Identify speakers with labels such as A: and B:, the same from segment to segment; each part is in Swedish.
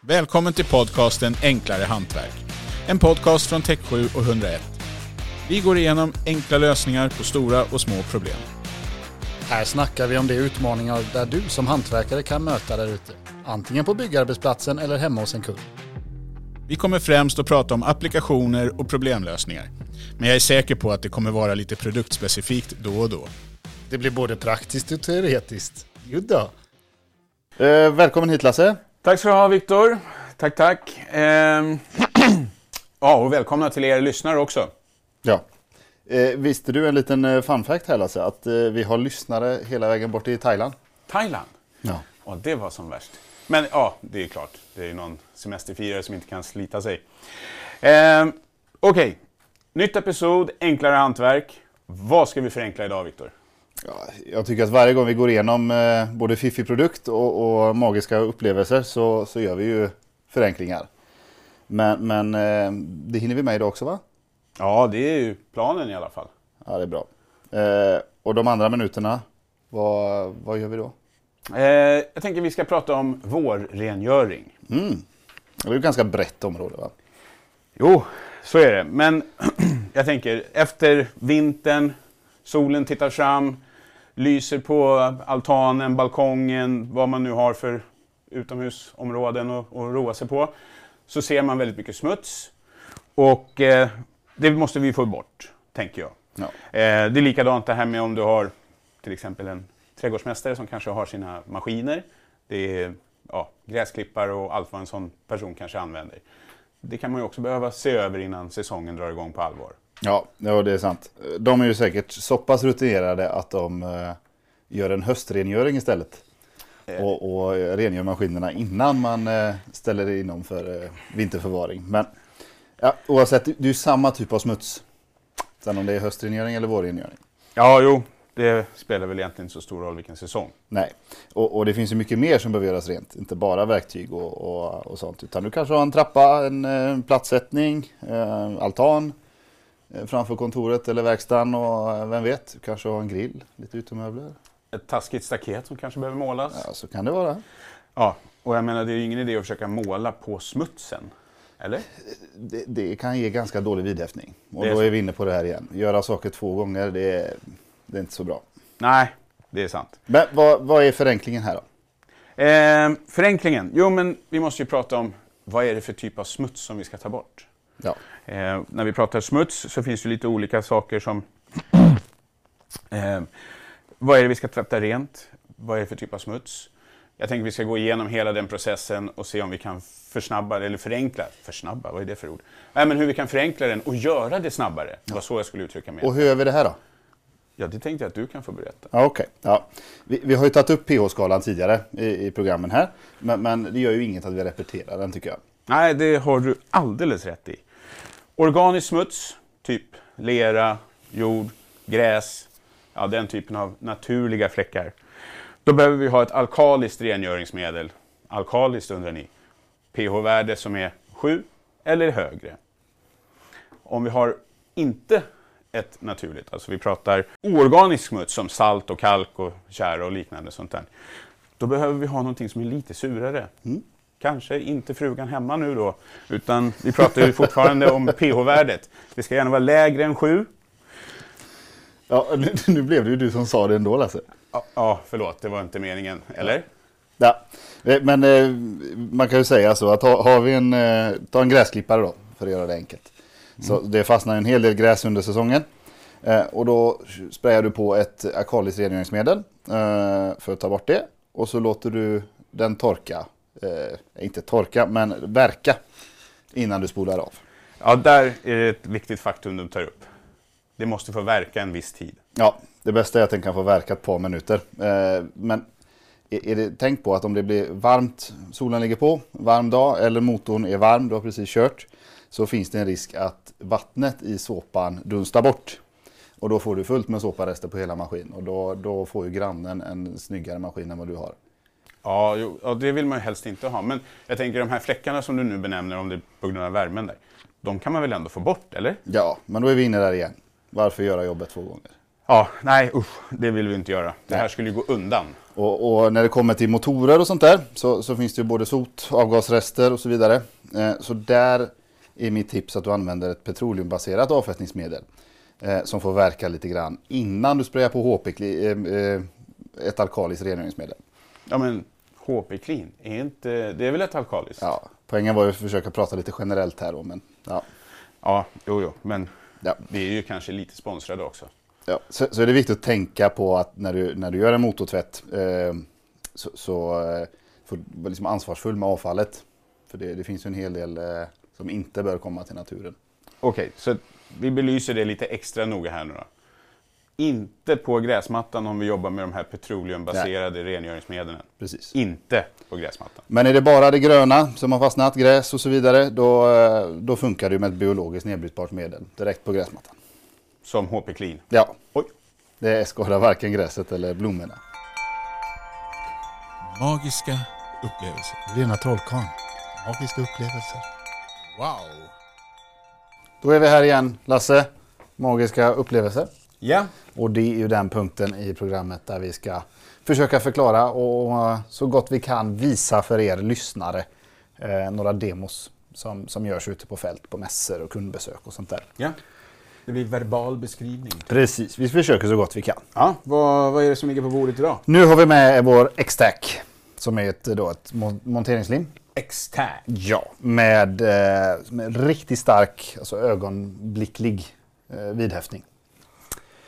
A: Välkommen till podcasten Enklare Hantverk. En podcast från Tech7 och 101. Vi går igenom enkla lösningar på stora och små problem.
B: Här snackar vi om de utmaningar där du som hantverkare kan möta där ute. Antingen på byggarbetsplatsen eller hemma hos en kund.
A: Vi kommer främst att prata om applikationer och problemlösningar. Men jag är säker på att det kommer vara lite produktspecifikt då och då.
B: Det blir både praktiskt och teoretiskt. Jodå.
C: Eh, välkommen hit Lasse.
D: Tack ska du ha Viktor. Tack, tack. Ehm, Ja, och välkomna till er lyssnare också.
C: Ja. Eh, visste du en liten eh, fun fact här Lasse? Att eh, vi har lyssnare hela vägen bort i Thailand.
D: Thailand.
C: Ja.
D: Ja, det var som värst. Men ja, det är klart. Det är ju någon semesterfirare som inte kan slita sig. Ehm, Okej, nytt episod, enklare hantverk. Vad ska vi förenkla idag Viktor?
C: Jag tycker att varje gång vi går igenom eh, både fiffig produkt och, och magiska upplevelser så, så gör vi ju förenklingar. Men, men eh, det hinner vi med idag också va?
D: Ja, det är ju planen i alla fall.
C: Ja, det är bra. Eh, och de andra minuterna, vad, vad gör vi då?
D: Ehm, jag tänker vi ska prata om vårrengöring.
C: Det är ju ett ganska brett område va?
D: Jo, så är det. Men jag tänker, efter vintern, solen tittar fram, lyser på altanen, balkongen, vad man nu har för utomhusområden att att roa sig på, så ser man väldigt mycket smuts. Och eh, det måste vi få bort, tänker jag.
C: Ja.
D: Eh, det är likadant det här med om du har till exempel en trädgårdsmästare som kanske har sina maskiner. Det är ja, gräsklippare och allt vad en sån person kanske använder. Det kan man ju också behöva se över innan säsongen drar igång på allvar.
C: Ja, ja, det är sant. De är ju säkert så pass rutinerade att de eh, gör en höstrengöring istället. Och, och rengör maskinerna innan man eh, ställer det inom för eh, vinterförvaring. Men ja, oavsett, det är ju samma typ av smuts. Sen om det är höstrengöring eller vårrengöring.
D: Ja, jo, det spelar väl egentligen inte så stor roll vilken säsong.
C: Nej, och, och det finns ju mycket mer som behöver göras rent. Inte bara verktyg och, och, och sånt. Utan du kanske har en trappa, en eh, plattsättning, eh, altan eh, framför kontoret eller verkstaden och eh, vem vet, du kanske har en grill, lite utemöbler.
D: Ett taskigt staket som kanske behöver målas. Ja.
C: Ja, så kan det vara.
D: och jag menar, det är ju ingen idé att försöka måla på smutsen. Eller?
C: Det, det kan ge ganska dålig vidhäftning. Och
D: Det är
C: då
D: så.
C: är vi inne på det här igen. Göra saker två gånger, det är, det är inte så bra.
D: Nej, det är sant.
C: Men vad, vad är förenklingen här då?
D: Eh, förenklingen. Jo, men vi måste ju prata om vad är det för typ av smuts som vi ska ta bort.
C: Ja,
D: Eh, när vi pratar smuts så finns det lite olika saker som... Eh, vad är det vi ska tvätta rent? Vad är det för typ av smuts? Jag tänker vi ska gå igenom hela den processen och se om vi kan försnabba det, eller förenkla. Försnabba, vad är det för ord? Nej, men hur vi kan förenkla den och göra det snabbare. Det var så jag skulle uttrycka mig.
C: och hur gör vi det här då?
D: Ja, det tänkte jag att du kan få berätta.
C: Ja, Okej. Ja. Vi, vi har ju tagit upp pH-skalan tidigare i, i programmen här. Men, men det gör ju inget att vi repeterar den tycker jag.
D: Nej, det har du alldeles rätt i. Organisk smuts, typ lera, jord, gräs, ja, den typen av naturliga fläckar. Då behöver vi ha ett alkaliskt rengöringsmedel. Alkaliskt undrar ni. pH-värde som är 7 eller högre. Om vi har inte ett naturligt, alltså vi pratar oorganisk smuts som salt och kalk och tjära och liknande sånt där. Då behöver vi ha någonting som är lite surare. Kanske inte frugan hemma nu då, utan vi pratar ju fortfarande om pH-värdet. Det ska gärna vara lägre än 7.
C: Ja, nu, nu blev det ju du som sa det ändå Lasse.
D: Ja, ja, förlåt, det var inte meningen, eller?
C: Ja. Eh, Men eh, man kan ju säga så att ha- har vi en, eh, ta en gräsklippare då, för att göra det enkelt. Så det fastnar ju en hel del gräs under säsongen. Eh, och då sprayar du på ett alkaliskt rengöringsmedel eh, för att ta bort det. Och så låter du den torka, eh, inte torka, men verka innan du spolar av.
D: Ja, där är det ett viktigt faktum du tar upp. Det måste få verka en viss tid.
C: Ja, det bästa är att den kan få verka ett par minuter. Eh, men är är det, tänk på att om det blir varmt, solen ligger på, varm dag eller motorn är varm, du har precis kört, så finns det en risk att vattnet i såpan dunstar bort. Och då får du fullt med såparester på hela maskinen och då, då får ju grannen en snyggare maskin än vad du har.
D: Ja, jo, ja, det vill man ju helst inte ha. Men jag tänker de här fläckarna som du nu benämner, om det är på grund av värmen där, de kan man väl ändå få bort, eller?
C: Ja, men då är vi inne där igen. Varför göra jobbet två gånger?
D: Ja, nej usch, det vill vi inte göra. Det här skulle ju gå undan.
C: Och, och när det kommer till motorer och sånt där så, så finns det ju både sot, avgasrester och så vidare. Eh, så där är mitt tips att du använder ett petroleumbaserat avfettningsmedel eh, som får verka lite grann innan du sprayar på HP, eh, eh, ett alkaliskt rengöringsmedel.
D: Ja, men HP Clean, är inte, det är väl ett alkaliskt?
C: Ja, poängen var ju att försöka prata lite generellt här då, men ja.
D: ja, jo, jo, men
C: ja.
D: vi är ju kanske lite sponsrade också.
C: Ja, så, så är det viktigt att tänka på att när du, när du gör en motortvätt eh, så, så eh, får du vara liksom ansvarsfull med avfallet. För det, det finns ju en hel del eh, som inte bör komma till naturen.
D: Okej, så vi belyser det lite extra noga här nu då. Inte på gräsmattan om vi jobbar med de här petroleumbaserade rengöringsmedlen.
C: Precis.
D: Inte på gräsmattan.
C: Men är det bara det gröna som har fastnat, gräs och så vidare, då, eh, då funkar det ju med ett biologiskt nedbrytbart medel direkt på gräsmattan.
D: Som HP Clean.
C: Ja,
D: Oj,
C: det skadar varken gräset eller blommorna.
A: Magiska upplevelser.
B: Rena trollkarlen. Magiska upplevelser.
A: Wow!
C: Då är vi här igen, Lasse. Magiska upplevelser.
D: ja.
C: Och det är ju den punkten i programmet där vi ska försöka förklara och så gott vi kan visa för er lyssnare eh, några demos som, som görs ute på fält på mässor och kundbesök och sånt där.
D: ja. Det blir verbal beskrivning.
C: Precis, vi försöker så gott vi kan.
D: Ja, vad, vad är det som ligger på bordet idag?
C: Nu har vi med vår X-Tack som är ett, då, ett mon- monteringslim.
D: X-tag.
C: Ja. Med, eh, med riktigt stark, alltså ögonblicklig eh, vidhäftning.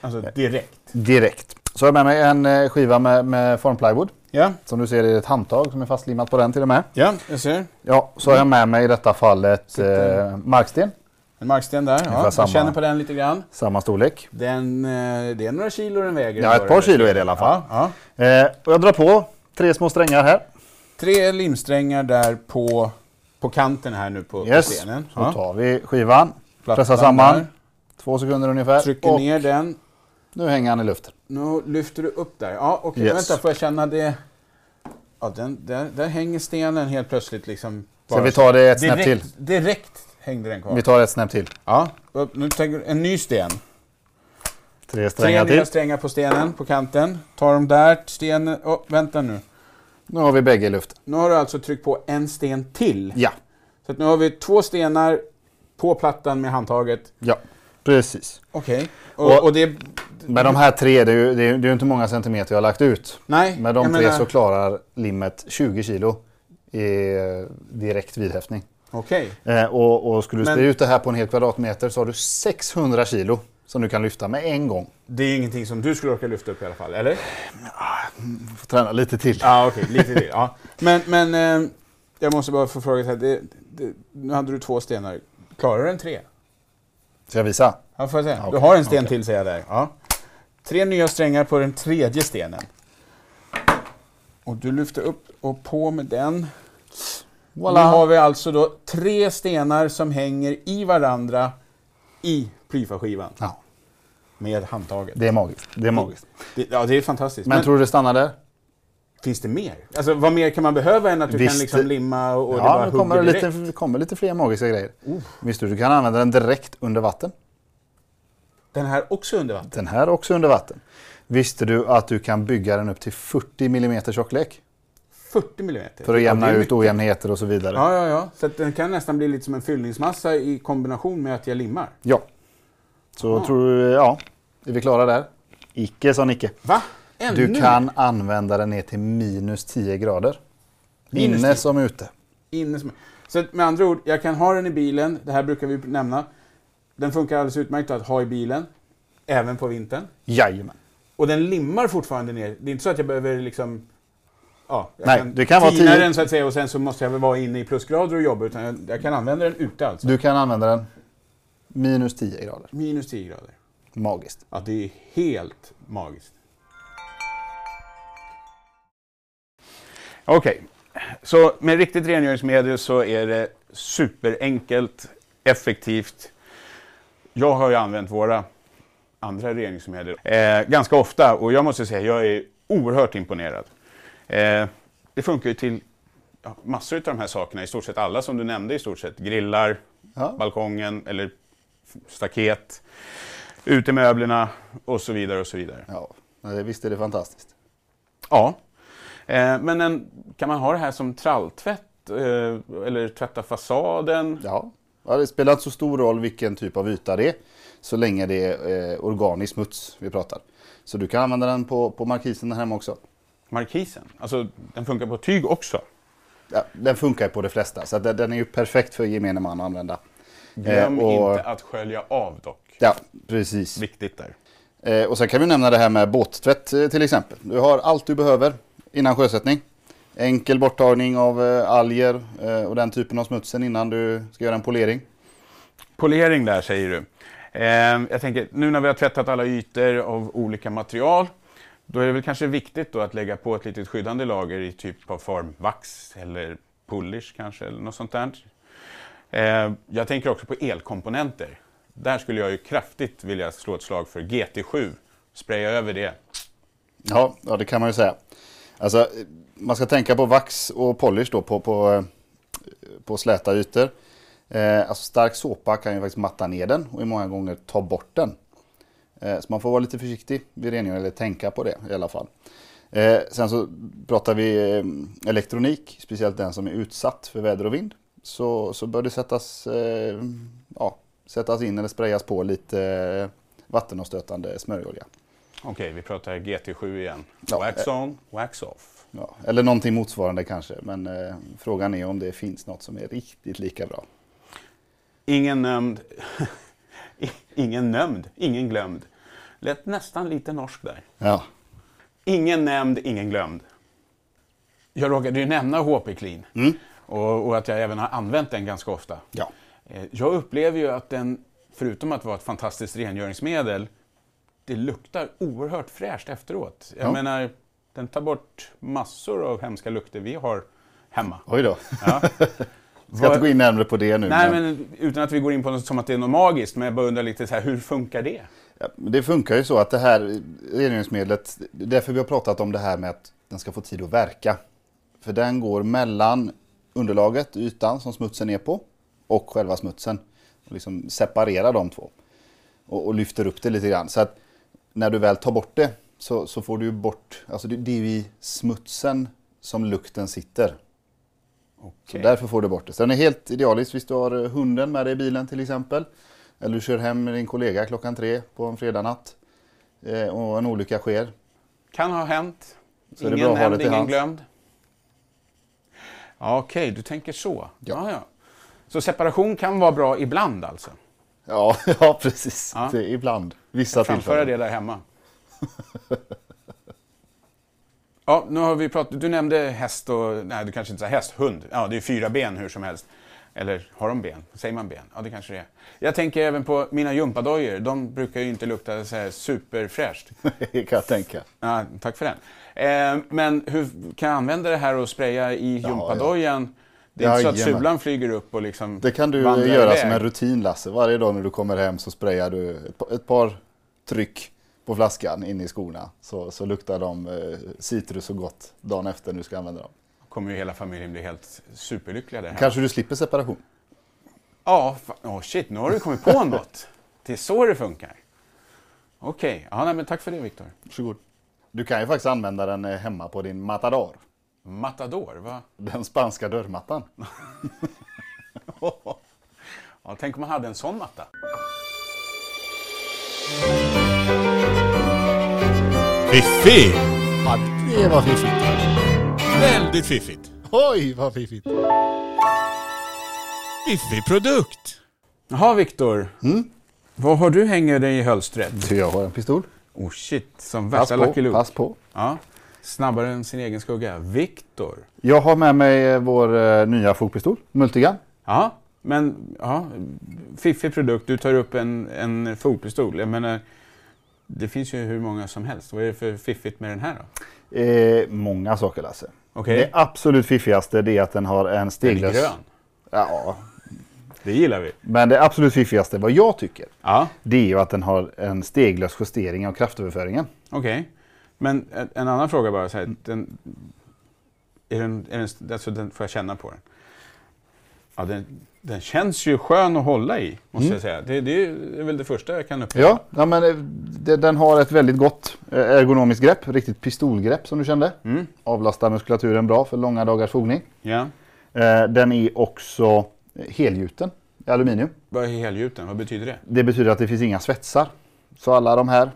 D: Alltså direkt.
C: Direkt. Så har jag med mig en eh, skiva med, med formplywood.
D: Ja,
C: Som du ser är det ett handtag som är fastlimmat på den till och med.
D: ja, jag ser.
C: Ja, så har jag med mig i detta fallet
D: Sitter-
C: eh, marksten,
D: En marksten där. Ja,
C: samma.
D: jag känner på den lite grann.
C: samma storlek.
D: Den, eh, det är några kilo den väger.
C: Ja, ett par kilo är det i alla fall.
D: Ja, ja.
C: Eh, och jag drar på tre små strängar här.
D: Tre limsträngar där på, på kanten här nu på, på
C: Yes.
D: stenen.
C: Så
D: Ja.
C: tar vi skivan,
D: Plattan
C: pressar samman,
D: där.
C: två sekunder ungefär.
D: Trycker
C: och
D: ner den.
C: nu hänger han i luften.
D: Nu lyfter du upp där. Ja, okej.
C: Yes.
D: Vänta, får jag känna det? Ja, den, där, där hänger stenen helt plötsligt. Liksom
C: Ska vi ta det ett snäpp
D: direkt,
C: till?
D: Direkt hängde den kvar.
C: Vi tar ett snäpp till.
D: Ja, upp- nu tänker du- en ny sten.
C: Tre
D: Tre
C: strängar
D: nya
C: till.
D: strängar på stenen, på kanten. Ta dem där, stenen... Oh, vänta nu.
C: Nu har vi bägge i luften.
D: Nu har du alltså tryckt på en sten till.
C: Ja,
D: Så att nu har vi två stenar på plattan med handtaget.
C: ja, precis.
D: Okej. Och,
C: Och-
D: och det...
C: Men de här tre, det är ju det är, ju- det är ju inte många centimeter jag har lagt ut.
D: Nej,
C: Med de
D: jag
C: tre
D: menar-
C: så klarar limmet 20 kilo i eh, direkt vidhäftning.
D: Okej.
C: Eh, och, och skulle du
D: Men-
C: sprida ut det här på en hel kvadratmeter så har du 600 kilo som du kan lyfta med en gång.
D: Det är ingenting som du skulle orka lyfta upp i alla fall, eller?
C: Du får träna lite till.
D: Ja, okej. Lite till. Ja. Men, men eh, jag måste bara få fråga så här. Det, det, nu hade du två stenar. Klarar du en tre?
C: Ska jag visa?
D: Ja, får jag säga. Du
C: okej,
D: har en sten
C: okej.
D: till, säger jag där. Ja. Tre nya strängar på den tredje stenen. Och du lyfter upp och på med den. Nu har
C: Voilà!
D: vi alltså då tre stenar som hänger i varandra i plyfaskivan
C: Ja,
D: med handtaget.
C: det är magiskt. Det är magiskt.
D: Det, ja, det är fantastiskt.
C: Men,
D: Men,
C: tror du det stannar där?
D: finns det mer? Alltså, vad mer kan man behöva än att du
C: Visst.
D: kan liksom limma och, och det
C: Ja,
D: bara
C: nu kommer det
D: hugger direkt?
C: lite, det kommer lite fler magiska grejer. Visste du, du kan använda den direkt under vatten.
D: Den här också under vatten?
C: Den här också under vatten. Visste du att du kan bygga den upp till 40 mm tjocklek?
D: 40 millimeter?
C: För att
D: Ja, det
C: jämna
D: är
C: ut
D: mycket.
C: ojämnheter och så vidare.
D: Ja, ja, ja. Så att den kan nästan bli lite som en fyllningsmassa i kombination med att jag limmar.
C: Ja. Så
D: Ah.
C: tror du, ja. Är vi klara där? Icke sa Nicke.
D: Va? Ännu?
C: Du kan använda den ner till minus 10 grader.
D: Minus
C: Inne
D: 10.
C: som ute.
D: Inne som... Så att med andra ord, jag kan ha den i bilen, det här brukar vi nämna. Den funkar alldeles utmärkt att ha i bilen, även på vintern.
C: Jajamän.
D: Och den limmar fortfarande ner. Det är inte så att jag behöver liksom... Ja, jag
C: Nej,
D: kan
C: det kan vara
D: tina
C: tio-
D: den så att säga och sen så måste jag väl vara inne i plusgrader och jobba. Utan jag, jag kan använda den ute alltså.
C: Du kan använda den minus 10 grader.
D: Minus 10 grader.
C: Magiskt.
D: Ja, det är helt magiskt. Okej, så med riktigt rengöringsmedel så är det superenkelt, effektivt. Jag har ju använt våra andra rengöringsmedel eh, ganska ofta och jag måste säga jag är oerhört imponerad. Eh, det funkar ju till ja, massor av de här sakerna, i stort sett alla som du nämnde i stort sett. Grillar,
C: Ja.
D: balkongen eller staket. ut i möblerna och så vidare och så vidare.
C: Ja, men det- visst är det fantastiskt.
D: Ja. Eh, men en, kan man ha det här som tralltvätt? Eh, eller tvätta fasaden?
C: Ja. ja, det spelar inte så stor roll vilken typ av yta det är, så länge det är eh, organisk smuts vi pratar. Så du kan använda den på, på markisen där hemma också.
D: Markisen? Alltså, den funkar på tyg också.
C: Ja, den funkar ju på de flesta, så att den, den är ju perfekt för gemene man att använda.
D: Glöm
C: Eh, och-
D: inte att skölja av dock.
C: Ja, precis.
D: Viktigt där.
C: Eh, och sen kan vi nämna det här med båttvätt eh, till exempel. Du har allt du behöver innan sjösättning. Enkel borttagning av eh, alger eh, och den typen av smutsen innan du ska göra en polering.
D: Polering där säger du. Eh, jag tänker, nu när vi har tvättat alla ytor av olika material, då är det väl kanske viktigt då att lägga på ett litet skyddande lager i typ av formvax eller polish kanske, eller något sånt där. Eh, jag tänker också på elkomponenter. Där skulle jag ju kraftigt vilja slå ett slag för GT7. Spraya över det.
C: Ja, ja det kan man ju säga. Alltså, eh, man ska tänka på vax och polish då på, på, eh, på släta ytor. Eh, alltså stark såpa kan ju faktiskt matta ner den och i många gånger ta bort den. Eh, så man får vara lite försiktig vid rengöring, eller tänka på det i alla fall. Eh, sen så pratar vi eh, elektronik, speciellt den som är utsatt för väder och vind. Så, så bör det sättas, eh, ja, sättas in eller sprayas på lite eh, vattenavstötande smörjolja.
D: Okej, vi pratar GT7 igen.
C: Ja,
D: wax
C: eh.
D: on, wax off.
C: Ja, eller någonting motsvarande kanske, men eh, frågan är om det finns något som är riktigt lika bra.
D: Ingen nämnd, I- ingen nämnd, ingen glömd. Lät nästan lite norsk där.
C: Ja,
D: Ingen nämnd, ingen glömd. Jag råkade ju nämna HP Clean och, och att jag även har använt den ganska ofta.
C: Mm. ja.
D: Eh, Jag upplever ju att den, förutom att vara ett fantastiskt rengöringsmedel, det luktar oerhört fräscht efteråt. Jag
C: Ja.
D: menar, den tar bort massor av hemska lukter vi har hemma.
C: Oj då.
D: Ja.
C: Ska inte gå in närmare på det nu.
D: Nej, men utan att vi går in på något som att det är något magiskt, men jag bara undrar lite så här, hur funkar det?
C: Ja, men det funkar ju så att det här rengöringsmedlet, det är därför vi har pratat om det här med att den ska få tid att verka. För den går mellan underlaget, ytan som smutsen är på, och själva smutsen. Och liksom separerar de två. Och, och lyfter upp det lite grann. Så att när du väl tar bort det så, så får du ju bort, alltså det, det är ju i smutsen som lukten sitter. Så
D: Okej.
C: därför får du bort det. Så den är helt idealisk. Visst du har eh, hunden med dig i bilen till exempel. Eller du kör hem med din kollega klockan tre på en fredagnatt. eh, Och en olycka sker.
D: Kan ha hänt.
C: är det
D: ingen
C: bra att ha
D: nämnd,
C: det till
D: ingen
C: hands.
D: glömd. Ja, Okej, du tänker så.
C: Ja.
D: Ja. Ja, Så separation kan vara bra ibland alltså?
C: Ja, ja precis.
D: Ja.
C: Det är ibland. Vissa
D: Framföra
C: tillfällen.
D: det där hemma. Ja, nu har vi pratat, du nämnde häst och, nej du kanske inte sa häst, hund. Ja, det är fyra ben hur som helst. Eller har de ben? Säger man ben? Ja, det kanske det är. Jag tänker även på mina gympadojor. De brukar ju inte lukta så här superfräscht.
C: Det kan jag tänka.
D: Ja, tack för den. Eh, men hur kan jag använda det här och spraya i
C: Ja,
D: gympadojan? Det är inte så att
C: Jajamän.
D: sulan flyger upp och liksom
C: Det kan du eh,
D: vandrar
C: göra
D: iväg.
C: som en rutin Lasse. Varje dag när du kommer hem så sprayar du ett, pa- ett par tryck på flaskan in i skorna. Så, så luktar de eh, citrus och gott dagen efter du ska använda dem.
D: kommer ju hela familjen bli helt superlyckliga där hemma.
C: Kanske du slipper separation.
D: Ja, fa- åh shit, nu har du kommit på något. Det är så det funkar. Okej, ja, nej, men tack för det Viktor.
C: Varsågod. Du kan ju faktiskt använda den eh, hemma på din matador.
D: Matador, va?
C: Den spanska dörrmattan.
D: Ja, tänk om man hade en sån matta.
A: Fiffig!
B: Ja, det var fiffigt.
A: Väldigt fiffigt.
B: Oj, vad fiffigt.
A: Fiffig produkt!
D: Jaha Viktor,
C: Mm?
D: vad har du hänger dig i hölstret?
C: Jag har en pistol.
D: Oh shit, som
C: Pass
D: värsta Lucky
C: på,
D: Luke.
C: pass på.
D: Ja, snabbare än sin egen skugga. Viktor.
C: Jag har med mig eh, vår eh, nya fogpistol, Multigun.
D: Ja, men ja, fiffig produkt. Du tar upp en, en fotpistol. Jag menar, det finns ju hur många som helst. Vad är det för fiffigt med den här då?
C: Eh, många saker Lasse.
D: Okej,
C: Det absolut fiffigaste det är att den har en
D: den är
C: steglös...
D: grön.
C: Ja,
D: Det gillar vi.
C: men det absolut fiffigaste, vad jag tycker,
D: Ja,
C: det är ju att den har en steglös justering av kraftöverföringen.
D: okej. Men en- en annan fråga bara. Så
C: Mm.
D: här, den, är den, är den, alltså den, får jag känna på den? Ja, ja, den, den känns ju skön att hålla i, måste
C: Mm.
D: jag säga. Det, det är väl det första jag kan uppleva.
C: Ja, ja men eh, det, den har ett väldigt gott eh, ergonomiskt grepp. Riktigt pistolgrepp som du kände.
D: Mm.
C: Avlastar muskulaturen bra för långa dagars fogning.
D: ja.
C: Eh, Den är också helgjuten i aluminium.
D: Vad är helgjuten? Vad betyder det?
C: Det betyder att det finns inga svetsar. Så alla de här,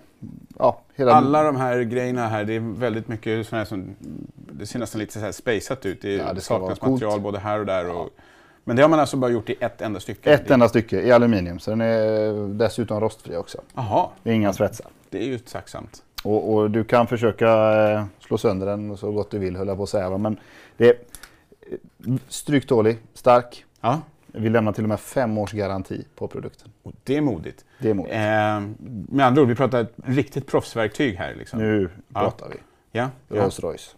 C: ja, hela
D: Alla de här grejerna här, det är väldigt mycket sådana här som... Det ser nästan lite så här spacat ut. Det,
C: Ja, det ska
D: saknas
C: vara coolt.
D: material både här och där. Och, Men det har man alltså bara gjort i ett enda stycke?
C: ett
D: Det-
C: enda stycke i aluminium. Så den är dessutom rostfri också.
D: Jaha,
C: Det är inga svetsar.
D: det är ju tacksamt.
C: Och, och du kan försöka eh, slå sönder den så gott du vill, höll jag på att säga. va. Men det är eh, stryktålig, stark.
D: Ja.
C: Vi lämnar till och med fem års garanti på produkten.
D: Och det är modigt.
C: Det är modigt.
D: Eh, med andra ord, vi pratar ett riktigt proffsverktyg här. Liksom.
C: Nu
D: Ja.
C: pratar vi.
D: Ja, ja. Mm.
C: Rolls Royce.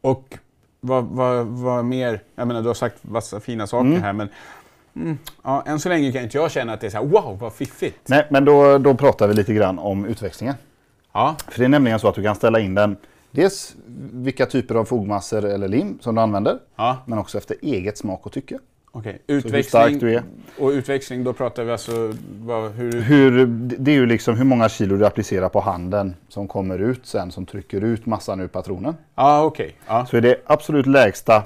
D: Och vad, vad, vad mer? Jag menar, du har sagt massa fina saker här, men mm, ja, än så länge kan inte jag känna att det är så här, wow, vad fiffigt.
C: Nej, men då, då pratar vi lite grann om utväxlingen.
D: Ja,
C: För det är nämligen så att du kan ställa in den dels vilka typer av fogmassor eller lim som du använder,
D: ja
C: men också efter eget smak och tycke.
D: okej.
C: hur
D: Utväxling.
C: stark du är.
D: Och utväxling, då pratar vi alltså vad, hur...
C: Hur, det är ju liksom hur många kilo du applicerar på handen som kommer ut sen, som trycker ut massan ur patronen.
D: Ja, okej. Ja.
C: Så är det absolut lägsta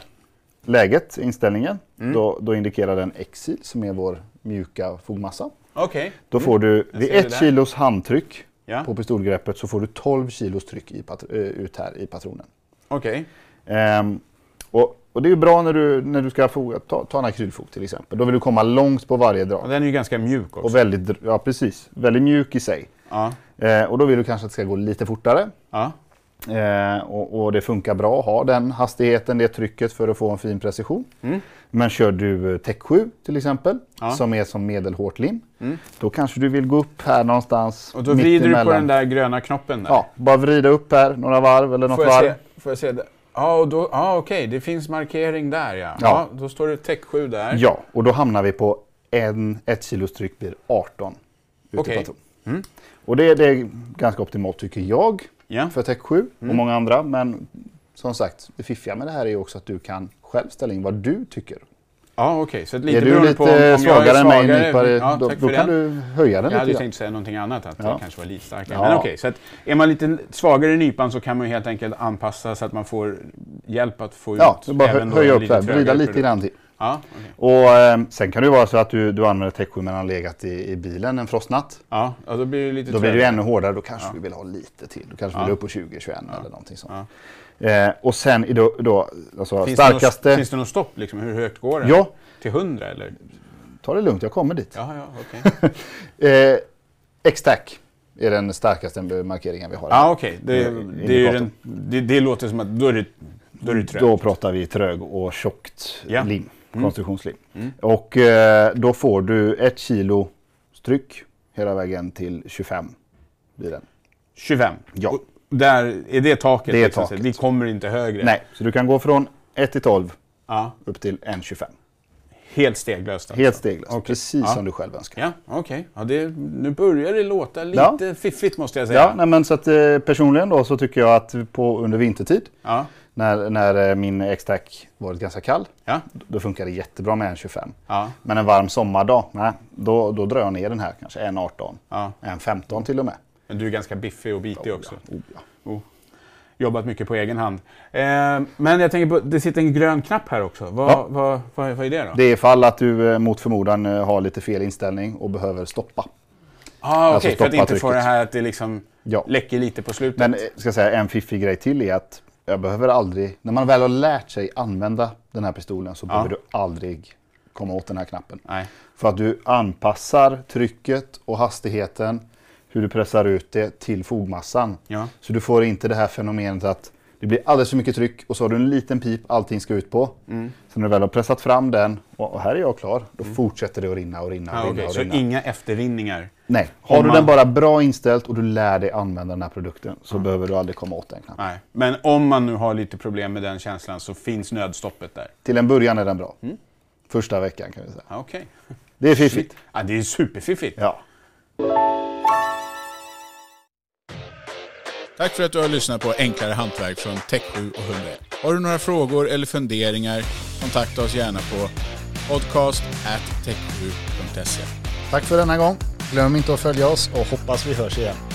C: läget, inställningen,
D: Mm.
C: då, då indikerar den exil som är vår mjuka fogmassa.
D: Okej.
C: Då får du
D: Mm. Jag
C: vid
D: ser det
C: ett
D: där.
C: kilos handtryck
D: Ja.
C: på pistolgreppet så får du 12 kilos tryck i patr- eh, ut här i patronen.
D: Okej.
C: Ehm, och, och det är ju bra när du, när du ska foga, ta, ta en akrylfot till exempel. Då vill du komma långt på varje
D: Och
C: drag.
D: Den är ju ganska mjuk också.
C: Och väldigt, dr- ja, precis, väldigt mjuk i sig.
D: Ja.
C: Eh, och då vill du kanske att det ska gå lite fortare.
D: ja.
C: Eh, och, och det funkar bra att ha den hastigheten, det trycket för att få en fin precision. Men kör du eh, Tech 7 till exempel,
D: Mm. Ja. Mm.
C: som är som medelhårt lim. Då kanske du vill gå upp här någonstans.
D: Och då
C: mitt
D: vrider du på
C: emellan.
D: den där gröna knoppen där.
C: Ja, bara vrida upp här några varv eller något
D: Får jag,
C: varv.
D: se, får jag se? det? Ja, och då, ja okej, det finns markering där ja. ja.
C: Ja.
D: då står det Tech 7 där.
C: Ja, och då hamnar vi på en, ett kilos tryck blir 18 ute
D: Okej. Mm.
C: på patron. Och det, det är ganska optimalt tycker jag
D: Ja. Mm.
C: för Tech 7 och många andra. Men som sagt, det fiffiga med det här är ju också att du kan själv ställa in vad du tycker.
D: Ja, okej. Så lite
C: är du
D: beroende
C: lite
D: på om, om jag är
C: svagare än mig i
D: svagare-
C: nypare,
D: ja,
C: då,
D: tack
C: då
D: för
C: kan
D: den.
C: du höja den
D: Jag
C: lite
D: hade ju
C: grann.
D: tänkt säga någonting annat, att det
C: Ja.
D: kanske var lite starkare.
C: Ja.
D: Men okej, så att är man lite svagare i nypan så kan man ju helt enkelt anpassa så att man får hjälp att få
C: Ja,
D: ut
C: så bara hö-
D: även då
C: höja
D: en
C: upp
D: lite
C: där, vrida
D: trögare
C: lite
D: produkt.
C: grann till.
D: Ja, okej.
C: Och eh, sen kan det ju vara så att du, du använder Tech 7 medan legat i, i bilen en frostnatt.
D: ja, ja, då blir det lite
C: Då blir det ju
D: trögare.
C: ännu hårdare. Då kanske du vill ha lite till. Du kanske
D: Ja.
C: vill upp på 20, 21 eller någonting sånt. Eh, och sen i då, då alltså
D: Finns Det
C: starkaste...
D: något, finns det något stopp liksom? Hur högt går det?
C: ja,
D: Till 100 eller?
C: ta det lugnt. Jag kommer dit.
D: Ja, ja, okej.
C: Eh, X-Tac är den starkaste markeringen vi har.
D: Ja, okej. Det,
C: Eh,
D: det, är ju den-
C: indikatorn.
D: det, det låter som att då är det, då är det trögt.
C: Då pratar vi trög och tjockt
D: Ja. Mm.
C: lim, konstruktionslim. Och eh, då får du ett kilo tryck hela vägen till 25 blir den.
D: 25.
C: Ja.
D: Och där är det taket.
C: Det är
D: liksom, så
C: taket.
D: Vi kommer inte högre.
C: Nej, så du kan gå från 1 till 12
D: Ja,
C: upp till 1,25.
D: helt steglöst. alltså.
C: Helt steglöst, precis
D: Ja.
C: som du själv önskar.
D: Ja, okej. Ja, det, nu börjar det låta
C: Ja.
D: lite fiffigt måste jag säga.
C: Ja, nej, men så att, eh, personligen då så tycker jag att på, under vintertid
D: ja,
C: när, när eh, min X-Tac varit ganska kall,
D: ja,
C: då funkar det jättebra med en 25.
D: ja,
C: Men en varm sommardag, nej, då, då drar jag ner den här kanske en 18,
D: ja.
C: en 15 till och med.
D: Men du är ganska biffig och bitig också.
C: Oh, ja.
D: Oh. Jobbat mycket på egen hand. Eh, men jag tänker på, det sitter en grön knapp här också. Vad,
C: Ja.
D: vad, vad, vad är det då?
C: Det är ifall att du eh, mot förmodan eh, har lite fel inställning och behöver stoppa.
D: ah, okej.
C: alltså
D: för att
C: stoppa
D: inte få det
C: trycket.
D: här att det liksom
C: Ja.
D: läcker lite på slutet.
C: Men eh, ska jag säga, en fiffig grej till är att jag behöver aldrig, när man väl har lärt sig använda den här pistolen så behöver du aldrig komma åt den här knappen.
D: Nej.
C: För att du anpassar trycket och hastigheten, hur du pressar ut det, till fogmassan.
D: Ja.
C: Så du får inte det här fenomenet att det blir alldeles för mycket tryck och så har du en liten pip allting ska ut på.
D: Mm.
C: Så när du väl har pressat fram den, och och här är jag klar, då fortsätter det att rinna och rinna och
D: Ah,
C: rinna.
D: Mm. okej.
C: och
D: Så
C: rinna.
D: inga efterrinningar.
C: Nej, har
D: Om
C: du
D: man- Mm.
C: den bara bra inställt och du lär dig använda den här produkten så behöver du aldrig komma åt den knappen.
D: Nej. Men om man nu har lite problem med den känslan så finns nödstoppet där.
C: Till en början är den bra.
D: Mm.
C: Första veckan kan vi säga.
D: Ah, okej.
C: Det är fiffigt.
D: Ah, det är superfiffigt.
C: Ja.
A: Tack för att du har lyssnat på Enklare Hantverk från Tech7 och 101. Har du några frågor eller funderingar, kontakta oss gärna på podcast@techsju.se.
C: Tack för denna gång. Glöm inte att följa oss och hoppas vi hörs igen.